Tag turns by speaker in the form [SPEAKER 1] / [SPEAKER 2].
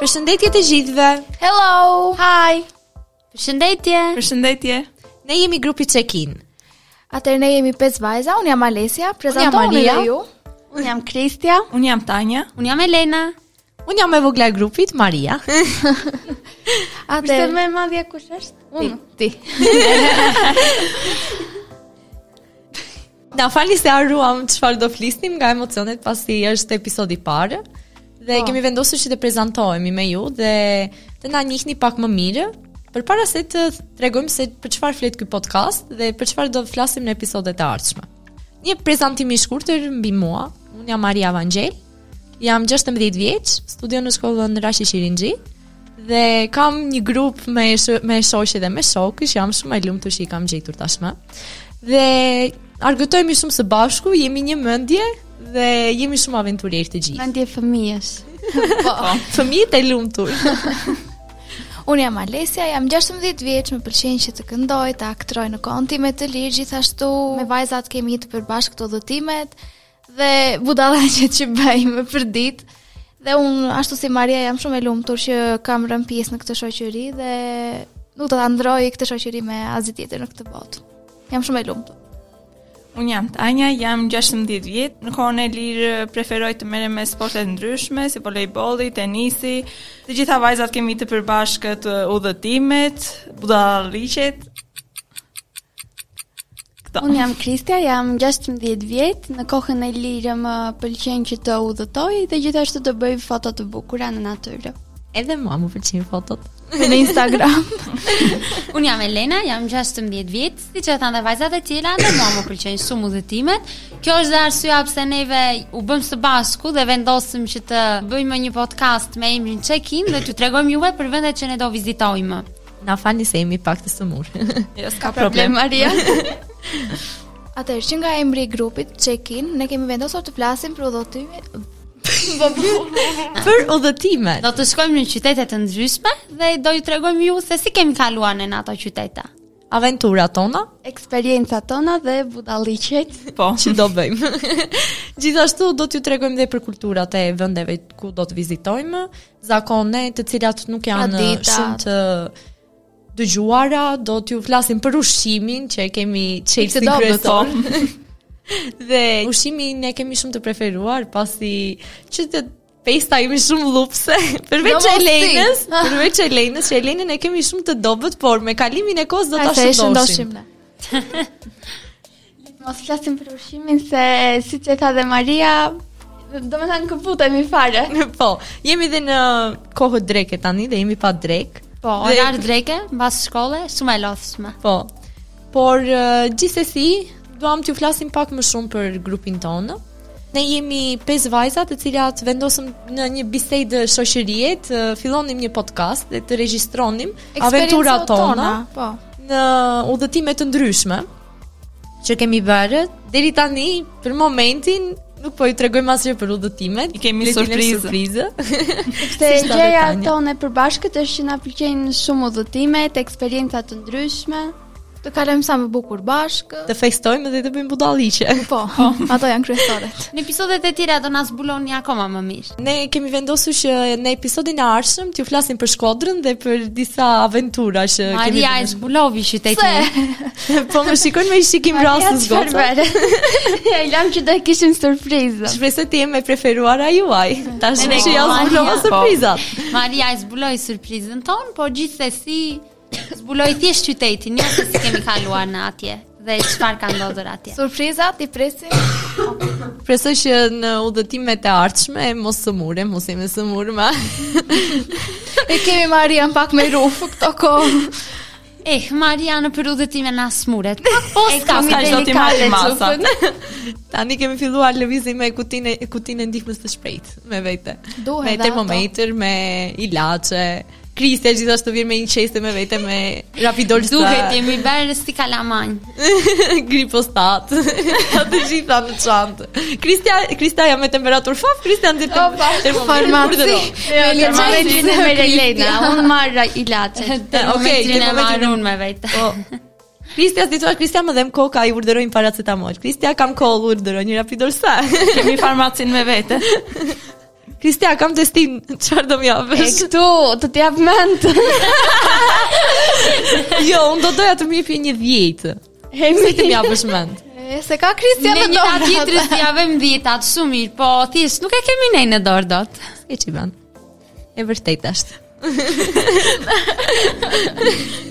[SPEAKER 1] Përshëndetje të gjithëve.
[SPEAKER 2] Hello!
[SPEAKER 3] Hi!
[SPEAKER 2] Përshëndetje!
[SPEAKER 3] Përshëndetje.
[SPEAKER 1] Ne jemi grupi Check-in.
[SPEAKER 2] Atëherë ne jemi 5 vajza, unë jam Alesia, prezantoni
[SPEAKER 3] Maria.
[SPEAKER 2] dhe ju.
[SPEAKER 4] Unë jam Kristja.
[SPEAKER 3] Un jam Tanja.
[SPEAKER 4] Unë jam Elena.
[SPEAKER 1] Unë jam e vogla e grupit, Maria.
[SPEAKER 4] Përse
[SPEAKER 2] Atëherë
[SPEAKER 4] më e madhja kush është?
[SPEAKER 2] unë, ti.
[SPEAKER 1] Na falni se harruam çfarë do flisnim nga emocionet pasi është episodi i parë.
[SPEAKER 3] Po.
[SPEAKER 1] Dhe kemi vendosur që të prezantohemi me ju dhe të na njihni pak më mirë. Përpara se të tregojmë se për çfarë flet ky podcast dhe për çfarë do flasim në episodet e ardhshme. Një prezantim i shkurtër mbi mua. Unë jam Maria Vangjel. Jam 16 vjeç, studion në shkollën Rashi Shirinxhi dhe kam një grup me sh me shoqe dhe me shokë, që jam shumë e lumtur që i kam gjetur tashmë. Dhe argëtojmë shumë së bashku, jemi një mendje dhe jemi shumë aventurier të gjithë.
[SPEAKER 4] Mendje fëmijësh.
[SPEAKER 1] Fëmijët e lumtur.
[SPEAKER 2] Unë jam Alesia, jam 16 vjeç, më pëlqen që të këndoj, të aktroj në kontime të lirë, gjithashtu me vajzat kemi të përbashkë këto udhëtimet dhe budallaqet që bëjmë për ditë. Dhe unë ashtu si Maria jam shumë e lumtur që kam rënë pjesë në këtë shoqëri dhe nuk do ta ndroj këtë shoqëri me asgjë tjetër në këtë botë. Jam shumë e lumtur.
[SPEAKER 3] Un jam Tanja, jam 16 vjet. Në kohën e lirë preferoj të merrem me sporte të ndryshme, si volejbolli, tenisi. Të gjitha vajzat kemi të përbashkët ë, udhëtimet, budalliqet. Këto.
[SPEAKER 4] Unë jam Kristja, jam 16 vjet. Në kohën e lirë më pëlqen që të udhëtoj dhe gjithashtu të bëj foto të bukura në natyrë.
[SPEAKER 1] Edhe mua më pëlqejnë fotot.
[SPEAKER 2] Në Instagram.
[SPEAKER 5] Unë jam Elena, jam 16 vjetë, si që e thanë dhe vajzat e tjera, dhe mua më pëlqenë shumë udhëtimet. Kjo është dhe arsyeja pse neve u bëm së bashku dhe vendosim që të bëjmë një podcast me emrin Check-in dhe t'ju tregojmë juve për vendet që ne do vizitojmë.
[SPEAKER 1] Na falni se jemi pak të sëmur.
[SPEAKER 3] Jo, s'ka problem.
[SPEAKER 4] Maria.
[SPEAKER 2] Atëherë që nga emri i grupit Check-in, ne kemi vendosur të flasim për udhëtimet.
[SPEAKER 1] për udhëtimet.
[SPEAKER 5] Do të shkojmë në qytete të ndryshme dhe do ju tregojmë ju se si kemi kaluar në ato qytete.
[SPEAKER 1] Aventurat tona
[SPEAKER 4] Eksperiencat tona dhe budalliqet.
[SPEAKER 3] Po.
[SPEAKER 1] që do bëjmë. Gjithashtu do t'ju tregojmë dhe për kulturat e vendeve ku do të vizitojmë, zakone të cilat nuk janë
[SPEAKER 2] Traditat.
[SPEAKER 1] shumë të dëgjuara, do t'ju flasim për ushqimin që e kemi Chelsea
[SPEAKER 2] dobët,
[SPEAKER 1] kryesor. dhe ushimin ne kemi shumë të preferuar pasi që të Pesta jemi shumë lupse, përveç
[SPEAKER 2] Domos ti.
[SPEAKER 1] Elenës, përveç Elenës, që Elenën e kemi shumë të dobët, por me kalimin e kohës do ta shëndoshim.
[SPEAKER 2] ne.
[SPEAKER 4] Mos flasim për ushqimin se siç e tha dhe Maria, do me thënë këputemi fare.
[SPEAKER 1] Po, jemi dhe në kohë dreke tani dhe jemi pa drek.
[SPEAKER 5] Po,
[SPEAKER 1] Dhe-
[SPEAKER 5] orar dreke, mbas shkolle, shumë e lodhshme.
[SPEAKER 1] Po. Por uh, gjithsesi, duam t'ju flasim pak më shumë për grupin tonë. Ne jemi pesë vajza të cilat vendosëm në një bisedë shoqërie të fillonim një podcast dhe të regjistronim aventurat tona
[SPEAKER 2] Po.
[SPEAKER 1] në udhëtime të ndryshme që kemi bërë deri tani për momentin nuk po ju tregojmë asgjë për udhëtimet.
[SPEAKER 3] I kemi
[SPEAKER 1] Le t'i lëmë
[SPEAKER 3] surprizë.
[SPEAKER 1] surprizë.
[SPEAKER 4] Se
[SPEAKER 1] Si shta
[SPEAKER 4] gjeja
[SPEAKER 1] Tanja.
[SPEAKER 4] tonë e përbashkët është që na pëlqejnë shumë udhëtimet, eksperienca të ndryshme.
[SPEAKER 2] Të kalojmë sa më bukur bashkë.
[SPEAKER 1] të festojmë dhe të bëjmë budalliqe.
[SPEAKER 2] Po, ato janë kryesoret.
[SPEAKER 5] Në episodet e tjera do na zbuloni akoma më mirë.
[SPEAKER 1] Ne kemi vendosur që në episodin e ardhshëm t'ju flasim për Shkodrën dhe për disa aventura që
[SPEAKER 5] Maria e
[SPEAKER 1] kemi.
[SPEAKER 5] zbulovi qytetin.
[SPEAKER 1] Maria, po më shikojnë me i shikim rastës goca.
[SPEAKER 4] Ja i lam që do e kishim surprizë.
[SPEAKER 1] Shpresoj të jem e preferuara juaj. Tash
[SPEAKER 5] Ne
[SPEAKER 1] që ja
[SPEAKER 5] kemi
[SPEAKER 1] zbulova
[SPEAKER 5] Maria. Po.
[SPEAKER 1] surprizat.
[SPEAKER 5] Maria e zbuloi surprizën ton, por gjithsesi zbuloi thjesht qytetin, jo se si kemi kaluar në atje dhe çfarë ka ndodhur atje.
[SPEAKER 2] Surprizat i presim.
[SPEAKER 1] Presoj që në udhëtimet e ardhshme mos sëmure, mos jemi sëmurma.
[SPEAKER 2] E kemi Marian pak me ruf këto kohë.
[SPEAKER 5] Eh, Maria në për udhëtime na smuret. Pak po s'ka
[SPEAKER 3] Sa çdo ti marrim masa.
[SPEAKER 1] Tani kemi filluar lëvizje me kutinë kutinë ndihmës së shpejtë me vete.
[SPEAKER 2] Duhen
[SPEAKER 1] me
[SPEAKER 2] dhe
[SPEAKER 1] termometër, me ilaçe. Kriste gjithashtu vjen me një qeste me vete me rapidol sa-
[SPEAKER 5] Duhet jemi bërë si kalamanj.
[SPEAKER 1] gripostat. Atë gjitha në çantë. Kristja, Kristja jam me temperaturë faf, Kristja në termometër.
[SPEAKER 2] Farmaci.
[SPEAKER 4] Me
[SPEAKER 2] Termometrin e
[SPEAKER 4] legjendën me
[SPEAKER 2] Kristja.
[SPEAKER 4] Elena, unë marra ilaçet.
[SPEAKER 1] Okej,
[SPEAKER 5] Termometrin e
[SPEAKER 1] termometrin-
[SPEAKER 5] marrë unë me vete.
[SPEAKER 1] Po. Kristja, si thua, Kristja më dhem koka, i urdhëroj një paracetamol. Kristja kam kollë, urdhëroj një rapidol sa.
[SPEAKER 3] Kemi farmacin me vete.
[SPEAKER 1] Kristia, kam testin, çfarë do
[SPEAKER 4] E
[SPEAKER 1] m'japësh?
[SPEAKER 4] këtu të t'jap mend.
[SPEAKER 1] jo, unë do doja të më jepi një 10. Si të m'japësh mend?
[SPEAKER 2] E, se ka Kristian
[SPEAKER 5] Ne
[SPEAKER 2] dhe
[SPEAKER 5] një datë
[SPEAKER 2] Dora.
[SPEAKER 5] tjetër t'i javëm dhjetat shumë mirë, po thjesht nuk e kemi nej në dorë dot.
[SPEAKER 1] E ç'i bën? E vërtet është.